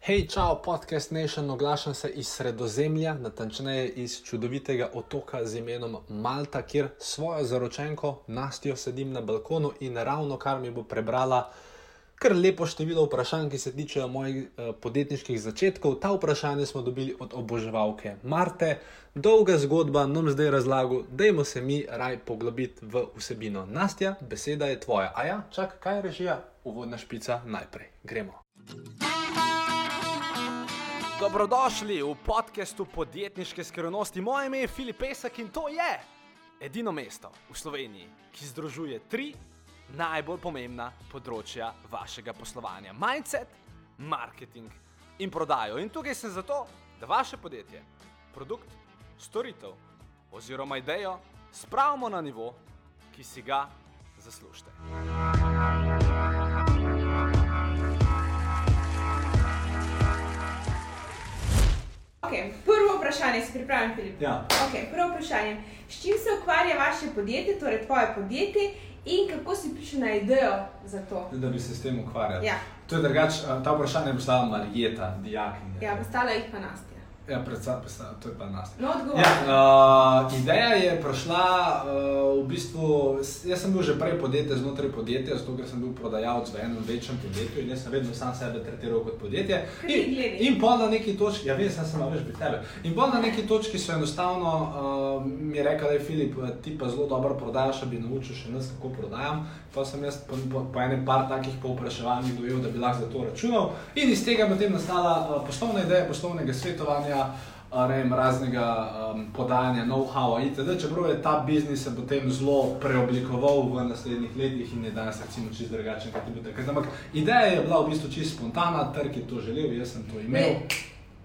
Hej, čau, podcast Nation, oglašam se iz Sredozemlja, natančneje iz čudovitega otoka z imenom Malta, kjer svojo zaročenko Nastijo sedim na balkonu in ravno kar mi bo prebrala kar lepo število vprašanj, ki se tičejo mojih eh, podjetniških začetkov. Ta vprašanja smo dobili od oboževalke Marte. Dolga zgodba nam zdaj razlago, dajmo se mi raj poglobiti v vsebino. Nastja, beseda je tvoja. A ja, čak, kaj je režija? Uvodna špica najprej. Gremo. Dobrodošli v podkastu podjetniške skrivnosti. Moje ime je Filip Pesek in to je edino mesto v Sloveniji, ki združuje tri najbolj pomembna področja vašega poslovanja: mindset, marketing in prodajo. In tukaj sem zato, da vaše podjetje, produkt, storitev oziroma idejo spravimo na nivo, ki si ga zaslužite. Okay, prvo vprašanje si pripravljen, Filip. Ja. Okay, prvo vprašanje. S čim se ukvarja vaše podjetje, torej tvoje podjetje, in kako si prišel na idejo za to? da bi se s tem ukvarjali. Ja. To je drugače, a, ta vprašanje je postavila Marijeta, dijakinja. Ja, postala jih pa Nastja. ja predvsem, predvsem, to je pa nas. No, odgovor. Ja, uh, ideja je prišla uh, v bistvu. s- Jaz sem bil že prej podjetje znotraj podjetja, zato ker sem bil prodajalec v enem večjem podjetju in jaz sem vedno sam sebe tretiral kot podjetje. Kaj ti In, gledaš? in pol na neki točki, ja, veš, sem samo več pri tebi. In pol na neki točki so enostavno uh, mi rekli, da je Filip, eh, ti pa zelo dobro prodajaš, da bi naučil še nas, kako prodajam. Pa sem jaz po, po, po enem par takih povpraševanj dojel, da bi lahko za to računal. In iz tega je potem nastala uh, poslovna ideja poslovnega svetovanja. eh, ne Vem, raznega um, podajanja, know-howa itd. Čeprav je ta biznis se potem zelo preoblikoval v naslednjih letih in je danes recimo čisto drugačen, kot je bil takrat. Ampak ideja je bila v bistvu čisto spontana, trg je to želel, jaz sem to imel Ne.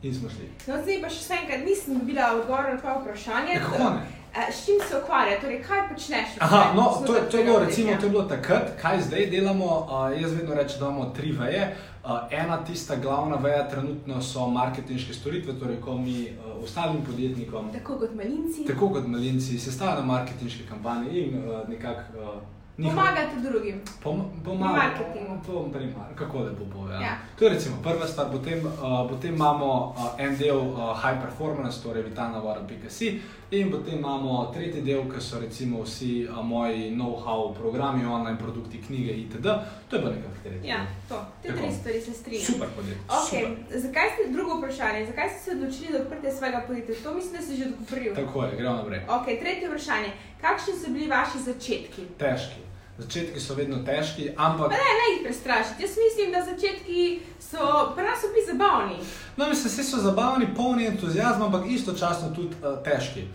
in smo šli. No, zdaj pa še vse enkrat nisem dobila odgovora na tvoje vprašanje. Ja, kako ne? Eh, S čim se ukvarja, torej kaj počneš? v Aha, svojem no, to, je- to je bilo podjetju? recimo to je bilo takrat, kaj zdaj delamo. Uh, jaz vedno rečem, da imamo tri veje. Uh, ena tista glavna veja trenutno so marketinške storitve, torej ko mi uh, ostalim podjetnikom, Tako kot malinci. tako kot malinci, sestavljamo marketinške kampanje in uh, nekako uh, njihov- Pomagate drugim. Pom, pom, Pri marketingu. Pom, primar, kako lepo bo. Ja. Ja. To je recimo prva stvar, potem, uh, potem imamo uh, en del uh, high performance, torej vitalnavara.si in potem imamo tretji del, ki so recimo vsi uh, moji know-how programi, online produkti, knjige itd. To je pa nekako tretji. Ja, del. to. Te Tako. tri stvari se strinjam. Super podjetje. Okay. Super. Zakaj ste drugo vprašanje? Zakaj ste se odločili za odprtje svojega podjetja? To mislim, da si že odgovoril. Tako je, gremo naprej. Ok, tretje vprašanje. Kakšni so bili vaši začetki? Težki. Začetki so vedno težki, ampak Ne, ne jih prestrašiti. Jaz mislim, da začetki so pri nas so bili zabavni. no, mislim, vsi so zabavni, polni entuzijazma, ampak istočasno tudi uh, težki.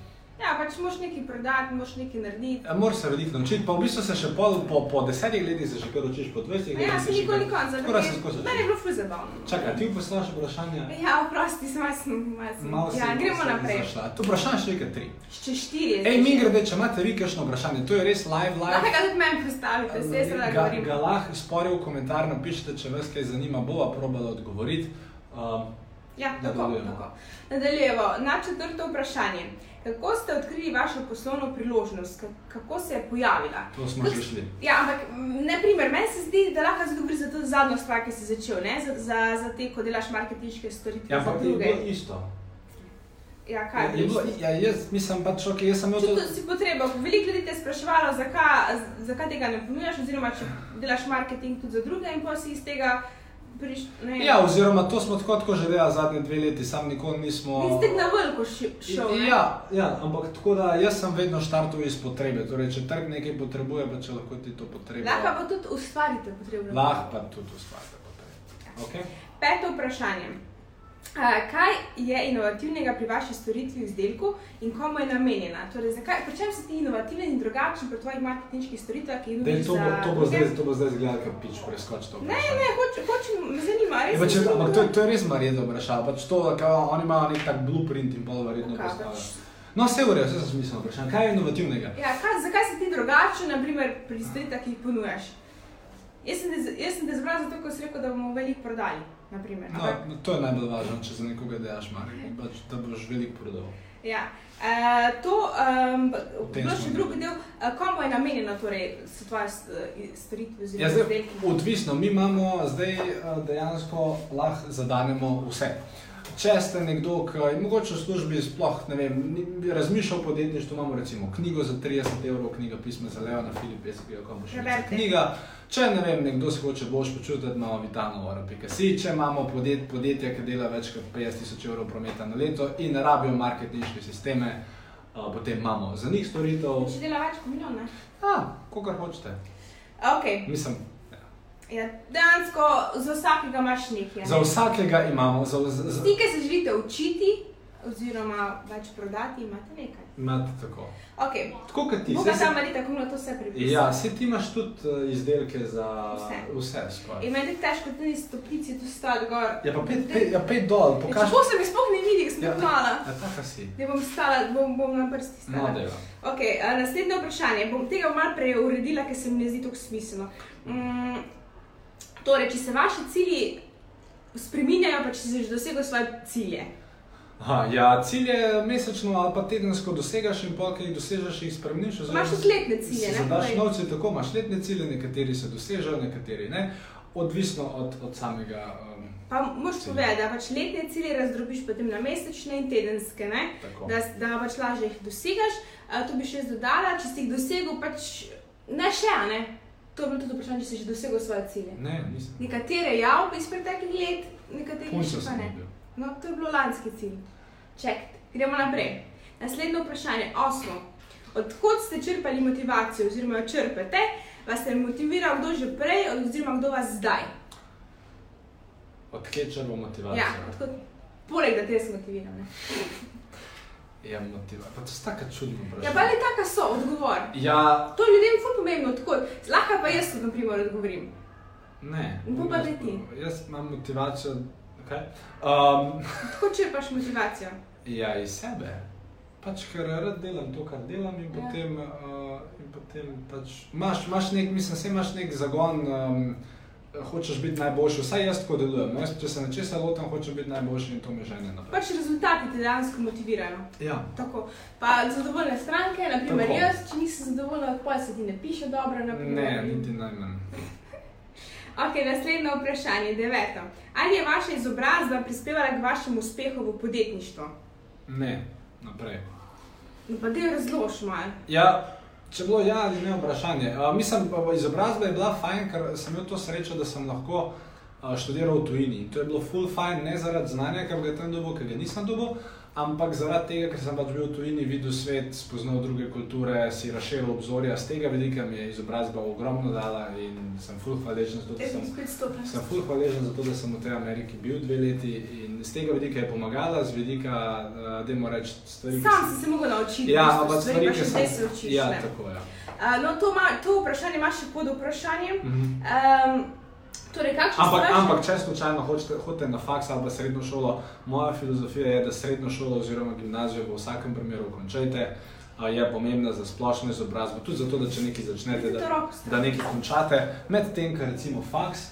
Ja, pač moš nekaj prodati, moš nekaj narediti. Ja, Moraš se veliko naučiti, pa v bistvu se še pol, po, po desetih letih se še kar učiš, po dvajsetih Ma Ja, se nikoli konc, Tako da se skozi Meni je bilo ful zabavno. učiš. Čakaj, ti postaviš vprašanje? Ja, oprosti, sem vas malo. Malo se Ja, gremo naprej. Zašla. To vprašanje še nekaj tri. Še štiri. Ej, mi grede, če imate vi kakšno vprašanje, to je res live, Lahko live. ga tudi meni postavite, se jaz rada ga, govorim. ga lahko sporijo v komentar, napišite, če vas kaj zanima, bova probala odgovoriti. Um, Ja, tako, Nadaljujemo. tako. Nadaljujemo. Na četrto vprašanje. Kako ste odkrili vašo poslovno priložnost? Ka- Kako se je pojavila? to smo Kako že šli. Ja, ampak m, na primer, meni se zdi, da lahko zgovoriš za to zadnjo stvar, ki si začel, ne? za, za, za te, ko delaš marketinške storitve. Ja, za ampak je druge. bilo isto. Ja, kaj Je, je bilo, ja, jaz mislim pač, ok, jaz sem imel Če to... to si potreba, veliko ljudi te je spraševalo, zakaj, zakaj tega ne ponujaš, oziroma če delaš marketing tudi za druge in pa si iz tega prišel. Ja, oziroma to smo tako, tako že delali zadnje dve leti, sam nikoli nismo... Niste na veliko ši- šel. ne? Ja, ja, ampak tako da jaz sem vedno štartoval iz potrebe. Torej, če trg nekaj potrebuje, pa če lahko ti to potrebuje. Lahko pa tudi ustvarite potrebno. Lahko pa tudi ustvarite potrebe. Okay? Peto vprašanje. A, Kaj je inovativnega pri vaši storitvi, izdelku in komu je namenjena? Torej, zakaj, pri čem si ti inovativen in drugačen pri tvojih marketinških storitvah, ki jih Dej, nudiš to, bo, za to, bo druge? zdaj, to bo zdaj zgleda, kot pič preskoči to. Ne, ne, hočem, hočem me zanima, res. E, pa, če, me zanima. ampak to, je- to je res marjedo vprašanje. Pač to, kao, oni imajo nek tak blueprint in pol verjetno Kaj pač? postavijo. No, vse v redu, vse sem smisel vprašanje. Kaj je inovativnega? Ja, kaj, zakaj si ti drugačen, naprimer, pri storitvah, ki jih ponujaš? Jaz sem te z- jaz sem te zbral zato, ker si rekel, da bomo veliko prodali. Naprimer, No, ampak- to je najbolj važno, če za nekoga delaš marketing, pač, da boš veliko prodal. Ja. Uh, to um, O tem je smo še bili. drugi del, uh, komu je namenjeno torej, so tvoje s- i- storitve Ja, oziroma zdaj, izdelki. odvisno, mi imamo zdaj eh, dejansko lahko zadanemo vse. Če ste nekdo, ki je mogoče v službi sploh ne vem, ni- bi razmišljal o podjetništvu, imamo recimo knjigo za 30 evrov, knjiga pisma za Leona Filipeskega, kam bo še Preberite. knjiga. Če ne vem, nekdo se hoče boš počutiti, imamo vitalno.si, če imamo podjet, podjetje, ki dela več kot 50 tisoč evrov prometa na leto in ne rabijo marketinške sisteme, eh, potem imamo za njih storitev, Če dela več kot milijon, ne? ja, kogar hočete. Okay. Mislim, Ja, dejansko za vsakega imaš nekaj. Za vsakega imamo, za, za, za, Vsi, ki se želite učiti, oziroma več prodati, imate nekaj. imate tako. Okay. Tako kot ti, Boga zdaj sama ni tako, da to vse pripisuje. Ja, se ti imaš tudi eh, izdelke za Vse. vse skoraj. In meni je tako težko, da ni stopnici tu stati gor. Ja, pa pet, pet, ja, pet dol, pokaži. Kako se mi sploh ne vidi, ko sem Ja. ja. mala. Ja, taka si. Ne bom stala, bom, bom na prsti stala. No, deva. Okay, a, naslednje vprašanje. Bom tega malo preuredila, ker se mi ne zdi tako smiselno. Mm, torej, če se vaši cilji spreminjajo, pa če si že dosegel svoje cilje. Aha, ja, cilje mesečno ali pa tedensko dosegaš in pol, ki jih dosežeš, jih spremeniš. oziroma Imaš tudi letne cilje, si ne? Torej, Zadaš Povej. novce, tako imaš letne cilje, nekateri se dosežejo, nekateri ne. Odvisno od, od samega. Um, Pa moš Cilje. povedati, da pač letne cilje razdrobiš potem na mesečne in tedenske, ne? tako. da, s- da pač lažje jih dosegaš. A, To bi še jaz dodala, če si jih dosegel, pač ne še, a ne. To je bilo tudi vprašanje, če si že dosegel svoje cilje. Ne, nisem. Nekatere ja, iz preteklih let, nekatere Punca še pa sem ne. bil. No, to je bilo lanski cilj. Čekajte, gremo naprej. Naslednje vprašanje, osmo. Odkud ste črpali motivacijo, oziroma jo črpate, vas je motiviral kdo že prej, oziroma kdo vas zdaj? Odkje črvo motivacijo? Ja, odkud, poleg da te jaz motiviram. ne. Ja, motivacija. Pa to je tako čudno Ja, vprašanje. pa ali taka so, odgovor. Ja, To je ljudem je pomembno, odkud. Zlahka pa jaz, na primer, odgovorim. ne. In pol pa leti. Jaz imam motivacijo, kaj? Um, Odkud črpaš motivacijo? ja, iz sebe. Pač, ker rad delam to, kar delam, in Ja. potem, uh, in potem pač, imaš, imaš nek, mislim, vse imaš nek zagon, um, hočeš biti najboljši. Vsaj jaz tako delujem. no. Jaz, če se nečesa lotim, hočem biti najboljši in to me žene naprej. Pač rezultati te dejansko motivirajo. Ja. Tako. Pa zadovoljne stranke, naprimer Tako. jaz, če nisem zadovoljna, pa se ti ne piše dobro. Naprimer, Ne, niti najmanj. Ok, naslednje vprašanje, deveto. Ali je vaša izobrazba prispevala k vašemu uspehu v podjetništvu? Ne, naprej. No, pa del razloži malo. Ja, če bilo ja ali ne vprašanje. Uh, mislim, pa izobrazba je bila fajn, ker sem imel to srečo, da sem lahko uh, študiral v tujini. In to je bilo full fajn, ne zaradi znanja, ki bi ga tam dobil, ker ga nisem dobil, ampak zaradi tega, ker sem pač bil v tujini, videl svet, spoznal druge kulture, si razširil obzorja. Z tega vidika mi je izobrazba ogromno dala in sem full hvaležen za to, da sem spet stopil. Sem fulh hvaležen za to, da sem v tej Ameriki bil dve leti in z tega vidika je pomagala, z vidika, uh, da moramo reči stvari. ki Sam si se mogel naučiti, Ja, v bistvu ampak stvari, pa ki še sem zdaj se učiš. Ja, ne. tako je. Ja. A, no, to, ma, to vprašanje imaš še pod vprašanjem. Mhm. Um, torej, kakšne Ampak, stvari- ampak, če slučajno hočete, hodite na faks ali pa srednjo šolo, moja filozofija je, da srednjo šolo oziroma gimnazijo v vsakem primeru končajte. a Je pomembna za splošno izobrazbo, tudi zato, da če nekaj začnete, Dajte da, roko stran. da nekaj končate, medtem, ko recimo faks,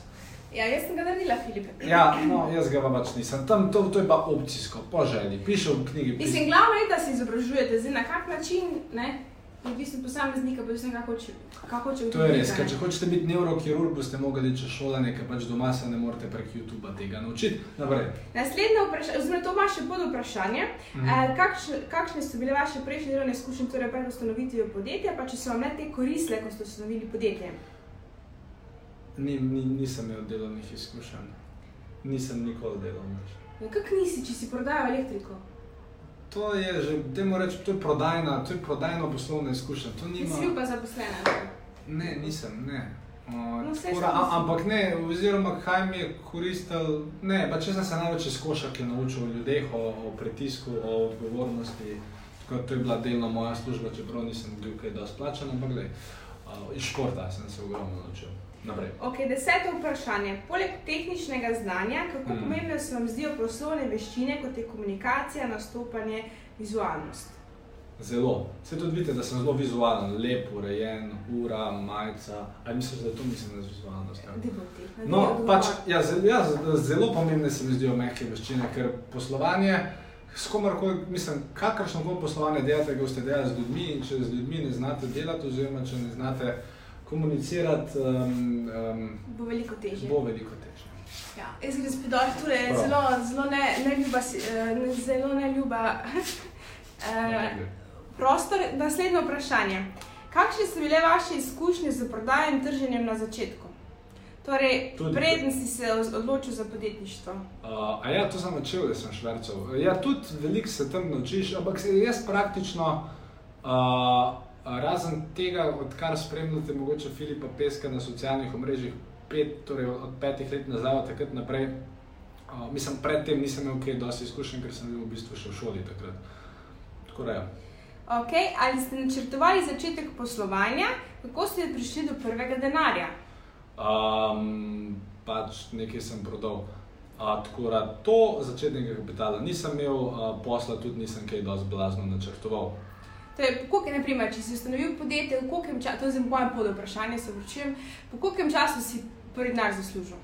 Ja, jaz sem ga naredila, Filip. ja, no, jaz ga pa pač nisem, tam to, to je pa opcijsko, po želji, piše v knjigi. piše- Mislim, glavno je, da se izobražujete, zdaj na kak način, ne? Odvisno posameznika, pa vsem, kako hoče. Kako hoče To je res, odgovoriti, ker ne. če hočete biti nevrokirurg, boste mogli čez šolanje, ker pač doma se ne morete prek YouTube tega naučiti. Naprej. Naslednje vprašanje, oziroma to imaš še pod vprašanje. Mm. Eh, kakšne, kakšne so bile vaše prejšnje delovne izkušnje, torej pred ustanovitvijo podjetja, pa če so vam le te koristile, ko ste ustanovili podjetje? Ni, ni, nisem imel delovnih izkušenj, nisem nikoli delal več. Ja, Kako nisi, če si prodajal elektriko? To je že, dajmo reči, to je prodajna, to je prodajno poslovna izkušnja. To Ti nima, si bil pa zaposlen. ali? ne, nisem, ne. Uh, No, saj tako sem da- a, mislila. ampak ne, oziroma kaj mi je koristil, ne, pa če sem se največ iz košarke naučil o ljudeh, o, o pritisku, o odgovornosti. Tako da to je bila delno moja služba, čeprav nisem bil kaj dosti plačen, ampak gled, uh, iz športa sem se ogromno naučil. Naprej. Ok, deseto vprašanje. Poleg tehničnega znanja, kako Mm. mm. pomembne se vam zdijo poslovne veščine, kot je komunikacija, nastopanje, vizualnost? Zelo. Se tudi vidite, da sem zelo vizualen, lep, urejen, ura, majica. Ali misliš, da to mislim z vizualnostjo? Deboti. pač, ja, No, pač, ja, zelo, ja, z- zelo pomembne se mi zdijo mehke veščine, ker poslovanje, S komerkoli, mislim, kakršno koli poslovanje delate, ko ste delali z ljudmi in če z ljudmi ne znate delati, oziroma če ne znate komunicirati, um, um, Bo veliko težje. bo veliko težje. Ja, jaz grem spet dol, torej Prav. zelo, zelo ne, ne ljuba, si- eh, ne- zelo ne ljuba. eh, Prostor, naslednje vprašanje. Kakšne so bile vaše izkušnje z prodajo in trženjem na začetku? Torej, Tudi- preden si se oz- odločil za podjetništvo. Uh, a ja, to sem naučil, da sem švercev. Ja, tudi veliko se tam naučiš, ampak se- jaz praktično, uh, razen tega, odkar spremljate mogoče Filipa Peska na socialnih omrežjih, pet, torej od petih let nazaj, od takrat naprej, uh, mislim, predtem nisem imel kaj dosti izkušenj, ker sem bil v bistvu še v šoli takrat. Tako da, ja. Okay, ali ste načrtovali začetek poslovanja, kako ste prišli do prvega denarja? Um, pač nekaj sem prodal. A, tako da to začetnega kapitala nisem imel, a, posla tudi nisem kaj dosti blazno načrtoval. Torej, po koliko, naprimer, če si ustanovil podjetje, v kolikem času, to je zdaj moje pod vprašanje, se vrčujem, po kolikem času si prvi denar zaslužil?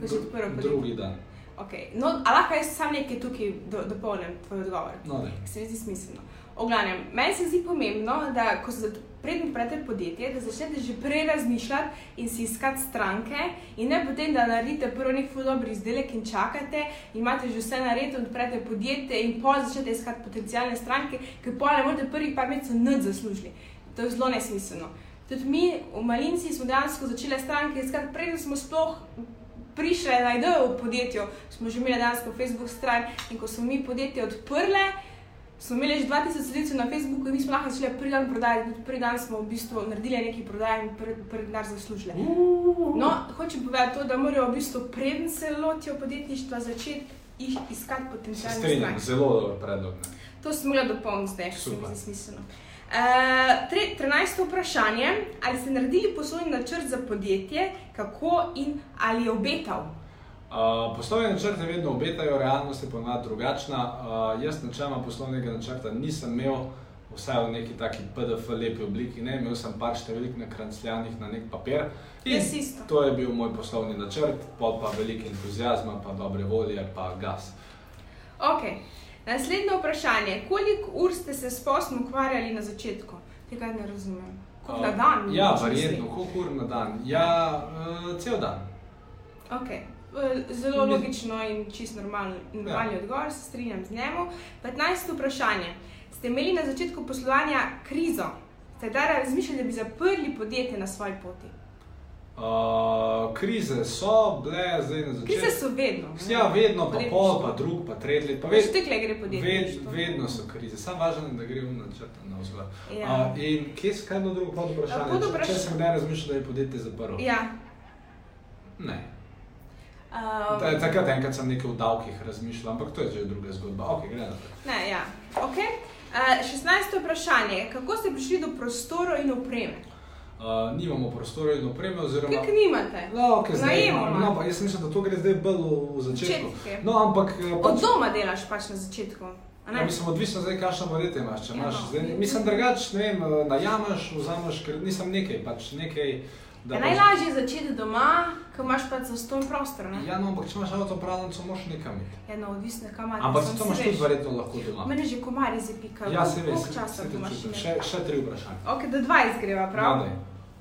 Ko si Dru- odprl podjetje. Drugi dan. Okay. No, a lahko jaz sam nekaj tukaj do, dopolnim tvoj odgovor? No, daj. se mi zdi smiselno. V glavnem, meni se zdi pomembno, da ko se predtem odprete podjetje, da začnete že prej razmišljati in si iskati stranke, in ne potem, da naredite prvi nek ful dobri izdelek in čakate, in imate že vse narejeno, odprete podjetje in pol začnete iskati potencijalne stranke, ki pol ne boste prvih par mesecev nič zaslužili. To je zelo nesmiselno. Tudi mi v Malinci smo dejansko začeli stranke iskati, preden smo sploh prišle na idejo v podjetju, smo že imeli dejansko Facebook stran in ko smo mi podjetje odprli, smo imeli že 2000 sledilcev na Facebooku in mi smo lahko začeli prvi dan prodajati, tudi prvi dan smo v bistvu naredili nekaj prodaj in prvi, prvi denar zaslužili. No, hočem povedati to, da morajo v bistvu preden se lotijo podjetništva začeti jih iskati Se potencijalne stranke. strinjam, zelo dober predlog. ne. To sem mogla dopolniti zdaj, ker se mi Super. zdi smiselno. Uh, 13. vprašanje. Ali ste naredili poslovni načrt za podjetje, kako in ali je obetal? A, Poslovne načrte vedno obetajo, realnost je ponovadi drugačna. A, Jaz načeloma poslovnega načrta nisem imel, vsaj v neki taki PDF lepi obliki, ne imel sem par številk na krancljanih na nek papir. In Jaz isto. To je bil moj poslovni načrt, pol pa veliko entuzijazma, pa dobre volje, pa gas. Okay. Naslednje vprašanje. Koliko ur ste se s poslom ukvarjali na začetku? Tega ne razumem. Kot na A, dan? Ja, mogoče verjetno, mislim. koliko ur na dan. Ja, eh, cel dan. Okay. Eh, Zelo Ne. logično in čist normalno- normalni ja. odgovor, se strinjam z njim. 15. vprašanje. Ste imeli na začetku poslovanja krizo? Ste da razmišljali, da bi zaprli podjetje na svoji poti? Uh, krize so bile zdaj na začetku. Krize so vedno. ne? Ja, vedno, pa Podjetništvo. pol, pa drug, pa tretji, pa Pač več. tekle gre Ved, podjetje. vedno so krize, samo važno je, da gremo načrtno na vzgor. Ja. Uh, in kje se kaj bilo drugo pod A, vprašanje? pod Če- Če vprašanje- sem kdaj razmišljal, da je podjetje zaprlo? Ja. Ne. Um, Ta- Takrat enkrat sem nekaj o davkih razmišljal, ampak to je že druga zgodba. Ok, gre naprej. Ne, ja. okay. uh, 16. vprašanje. Kako ste prišli do prostorov in opreme? Uh, nimamo prostorov in opreme, oziroma Kaj nimate? No, okay, zdaj, Najemamo. no, pa jaz mislim, da to gre zdaj bolj v- v začetku. Začetke. No, ampak eh, Od doma delaš pač na začetku. a ne? Ja, mislim, odvisno zdaj, kakšno podjetje imaš. Če Ja, imaš no. zdaj, mislim, drugač, ne vem, eh, najamaš, vzameš, ker nisem nekaj, pač nekaj. da Ja, pač- najlažje je začeti doma, ko imaš pač zaston prostor. Ne? Ja, no, ampak če imaš avto pravnico, moš nekam iti. Ja, no, odvisno kam imaš. Ampak se to imaš tudi verjetno lahko doma. Mene že komarji zapikajo. Ja, se veš, Koliko časa to imaš? Še, še tri vprašanja. Ok, do 20 greva, prav? No, daj.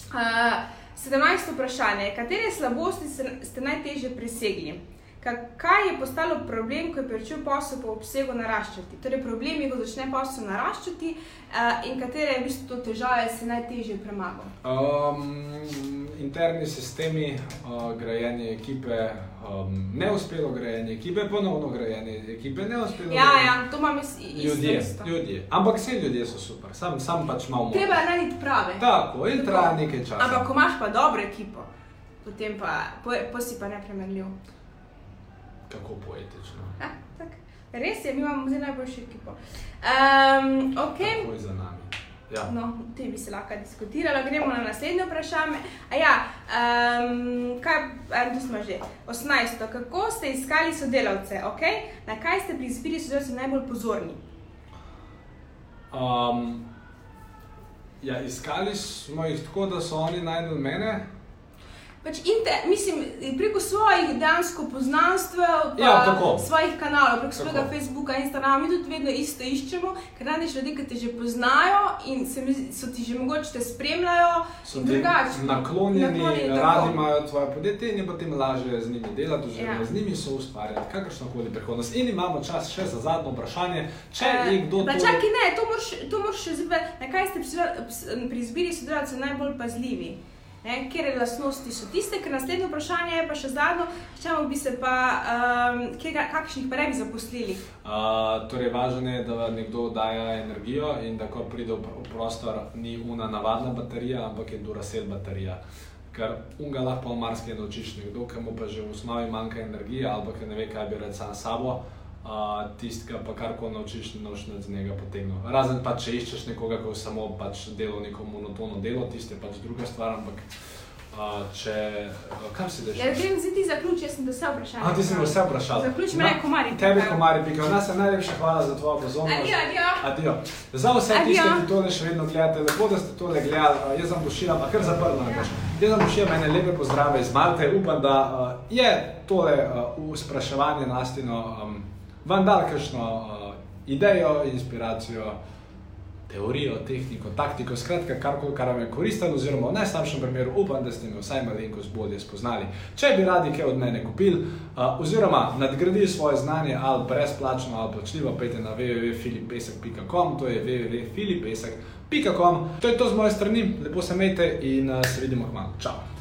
Uh, 17. vprašanje. Katere slabosti se- ste najtežje presegli? Ka- Kaj je postalo problem, ko je pričel posel po obsegu naraščati? Torej, problem je, ko začne posel naraščati uh, in katere v bistvu to težave se najtežje premagal. Um, interni sistemi, uh, grajenje ekipe, um, neuspelo grajenje ekipe, ponovno grajenje ekipe, neuspelo. Ja, grajenje- ja, to imam jaz i- isto. Ljudje, isto. ljudje. Ampak vsi ljudje so super, sam, sam pač malo. moraš. Treba je najti prave. Tako, in traja nekaj časa. Ampak, ko imaš pa dobro ekipo, potem pa po- posi pa nepremenljiv. Kako poetično. Ja, tako. Res je, mi imamo zdaj najboljšo ekipo. Um, okay. Takoj za nami. Ja. No, o tem bi se lahko diskutiralo. Gremo na naslednje vprašanje. A Ja, um, kaj, um, tu smo že. 18. Kako ste iskali sodelavce? Okay? Na kaj ste pri izbiri sodelavcev najbolj pozorni? Um, ja, iskali smo jih tako, da so oni najdel mene. Pač inte, mislim, preko svojih dejansko poznanstv, pa Ja, tako. svojih kanalov, preko Tako. svojega Facebooka, Instagrama, mi tudi vedno isto iščemo, ker najdeš ljudi, ki te že poznajo in se mi, zdi- so ti že mogoče te spremljajo so in ti drugače. naklonjeni, Naklonjeni, tako. radi imajo tvoje podjetje in je potem lažje z njimi delati, oziroma Ja. z njimi so ustvarjati kakršno koli prihodnost. In imamo čas še za zadnje vprašanje. Če je kdo Eh, torej Pa to- čakaj, ne, to moraš, to moraš še zdaj, na kaj ste pri sodel- ps- pri izbiri sodelavcev najbolj pazljivi. Ne, kjer lastnosti so tiste, ker naslednje vprašanje je pa še zadnjo, s čemu bi se pa, um, kjega, kakšnih pa ne bi zaposlili. Uh, torej, važno je, da nekdo daje energijo in da ko pride v pr- v prostor, ni una navadna baterija, ampak je Duracell baterija. Ker unga lahko marsikaj naučiš, nekdo, ki mu pa že v osnovi manjka energije ali pa ki ne ve, kaj bi rekel sam s sabo. Uh, Tistega pa kar ko naučiš, ne naučiš nič z njega potegniti. Razen pa če iščeš nekoga, ki samo pač dela neko monotono delo, tiste pač druga stvar, ampak uh, če. Kam si daš? Ja, grem zdaj ti zaključi, jaz sem do vse vprašanje. A, ti si me vse vprašal. Zaključimo, Na- ne, komarji. Tebi, komari, pika. Nas je najlepša hvala za tvojo pozornost. Adijo, adijo. Adijo. Za vse Adijo. tiste, ki tole še vedno gledate, lepo, da ste tole gledali. Eh, Jaz sem pošiljam, pa kar zaprla. Ja. Jaz sem pošiljam ene lepe pozdrave iz Malte. Upam, da eh, je tole uh, spraševanje nastino um, vam dal kakšno uh, idejo, inspiracijo. Teorijo, tehniko, taktiko, skratka, karkoli, kar vam je koristilo, oziroma v najslabšem primeru, upam, da ste me vsaj malenkost bolje spoznali. Če bi radi kaj od mene kupili, uh, oziroma nadgradili svoje znanje ali brezplačno ali plačljivo, pejte na www.filipesek.com, to je www.filipesek.com. To je to z moje strani, lepo se imejte in uh, se vidimo k malu. Čau!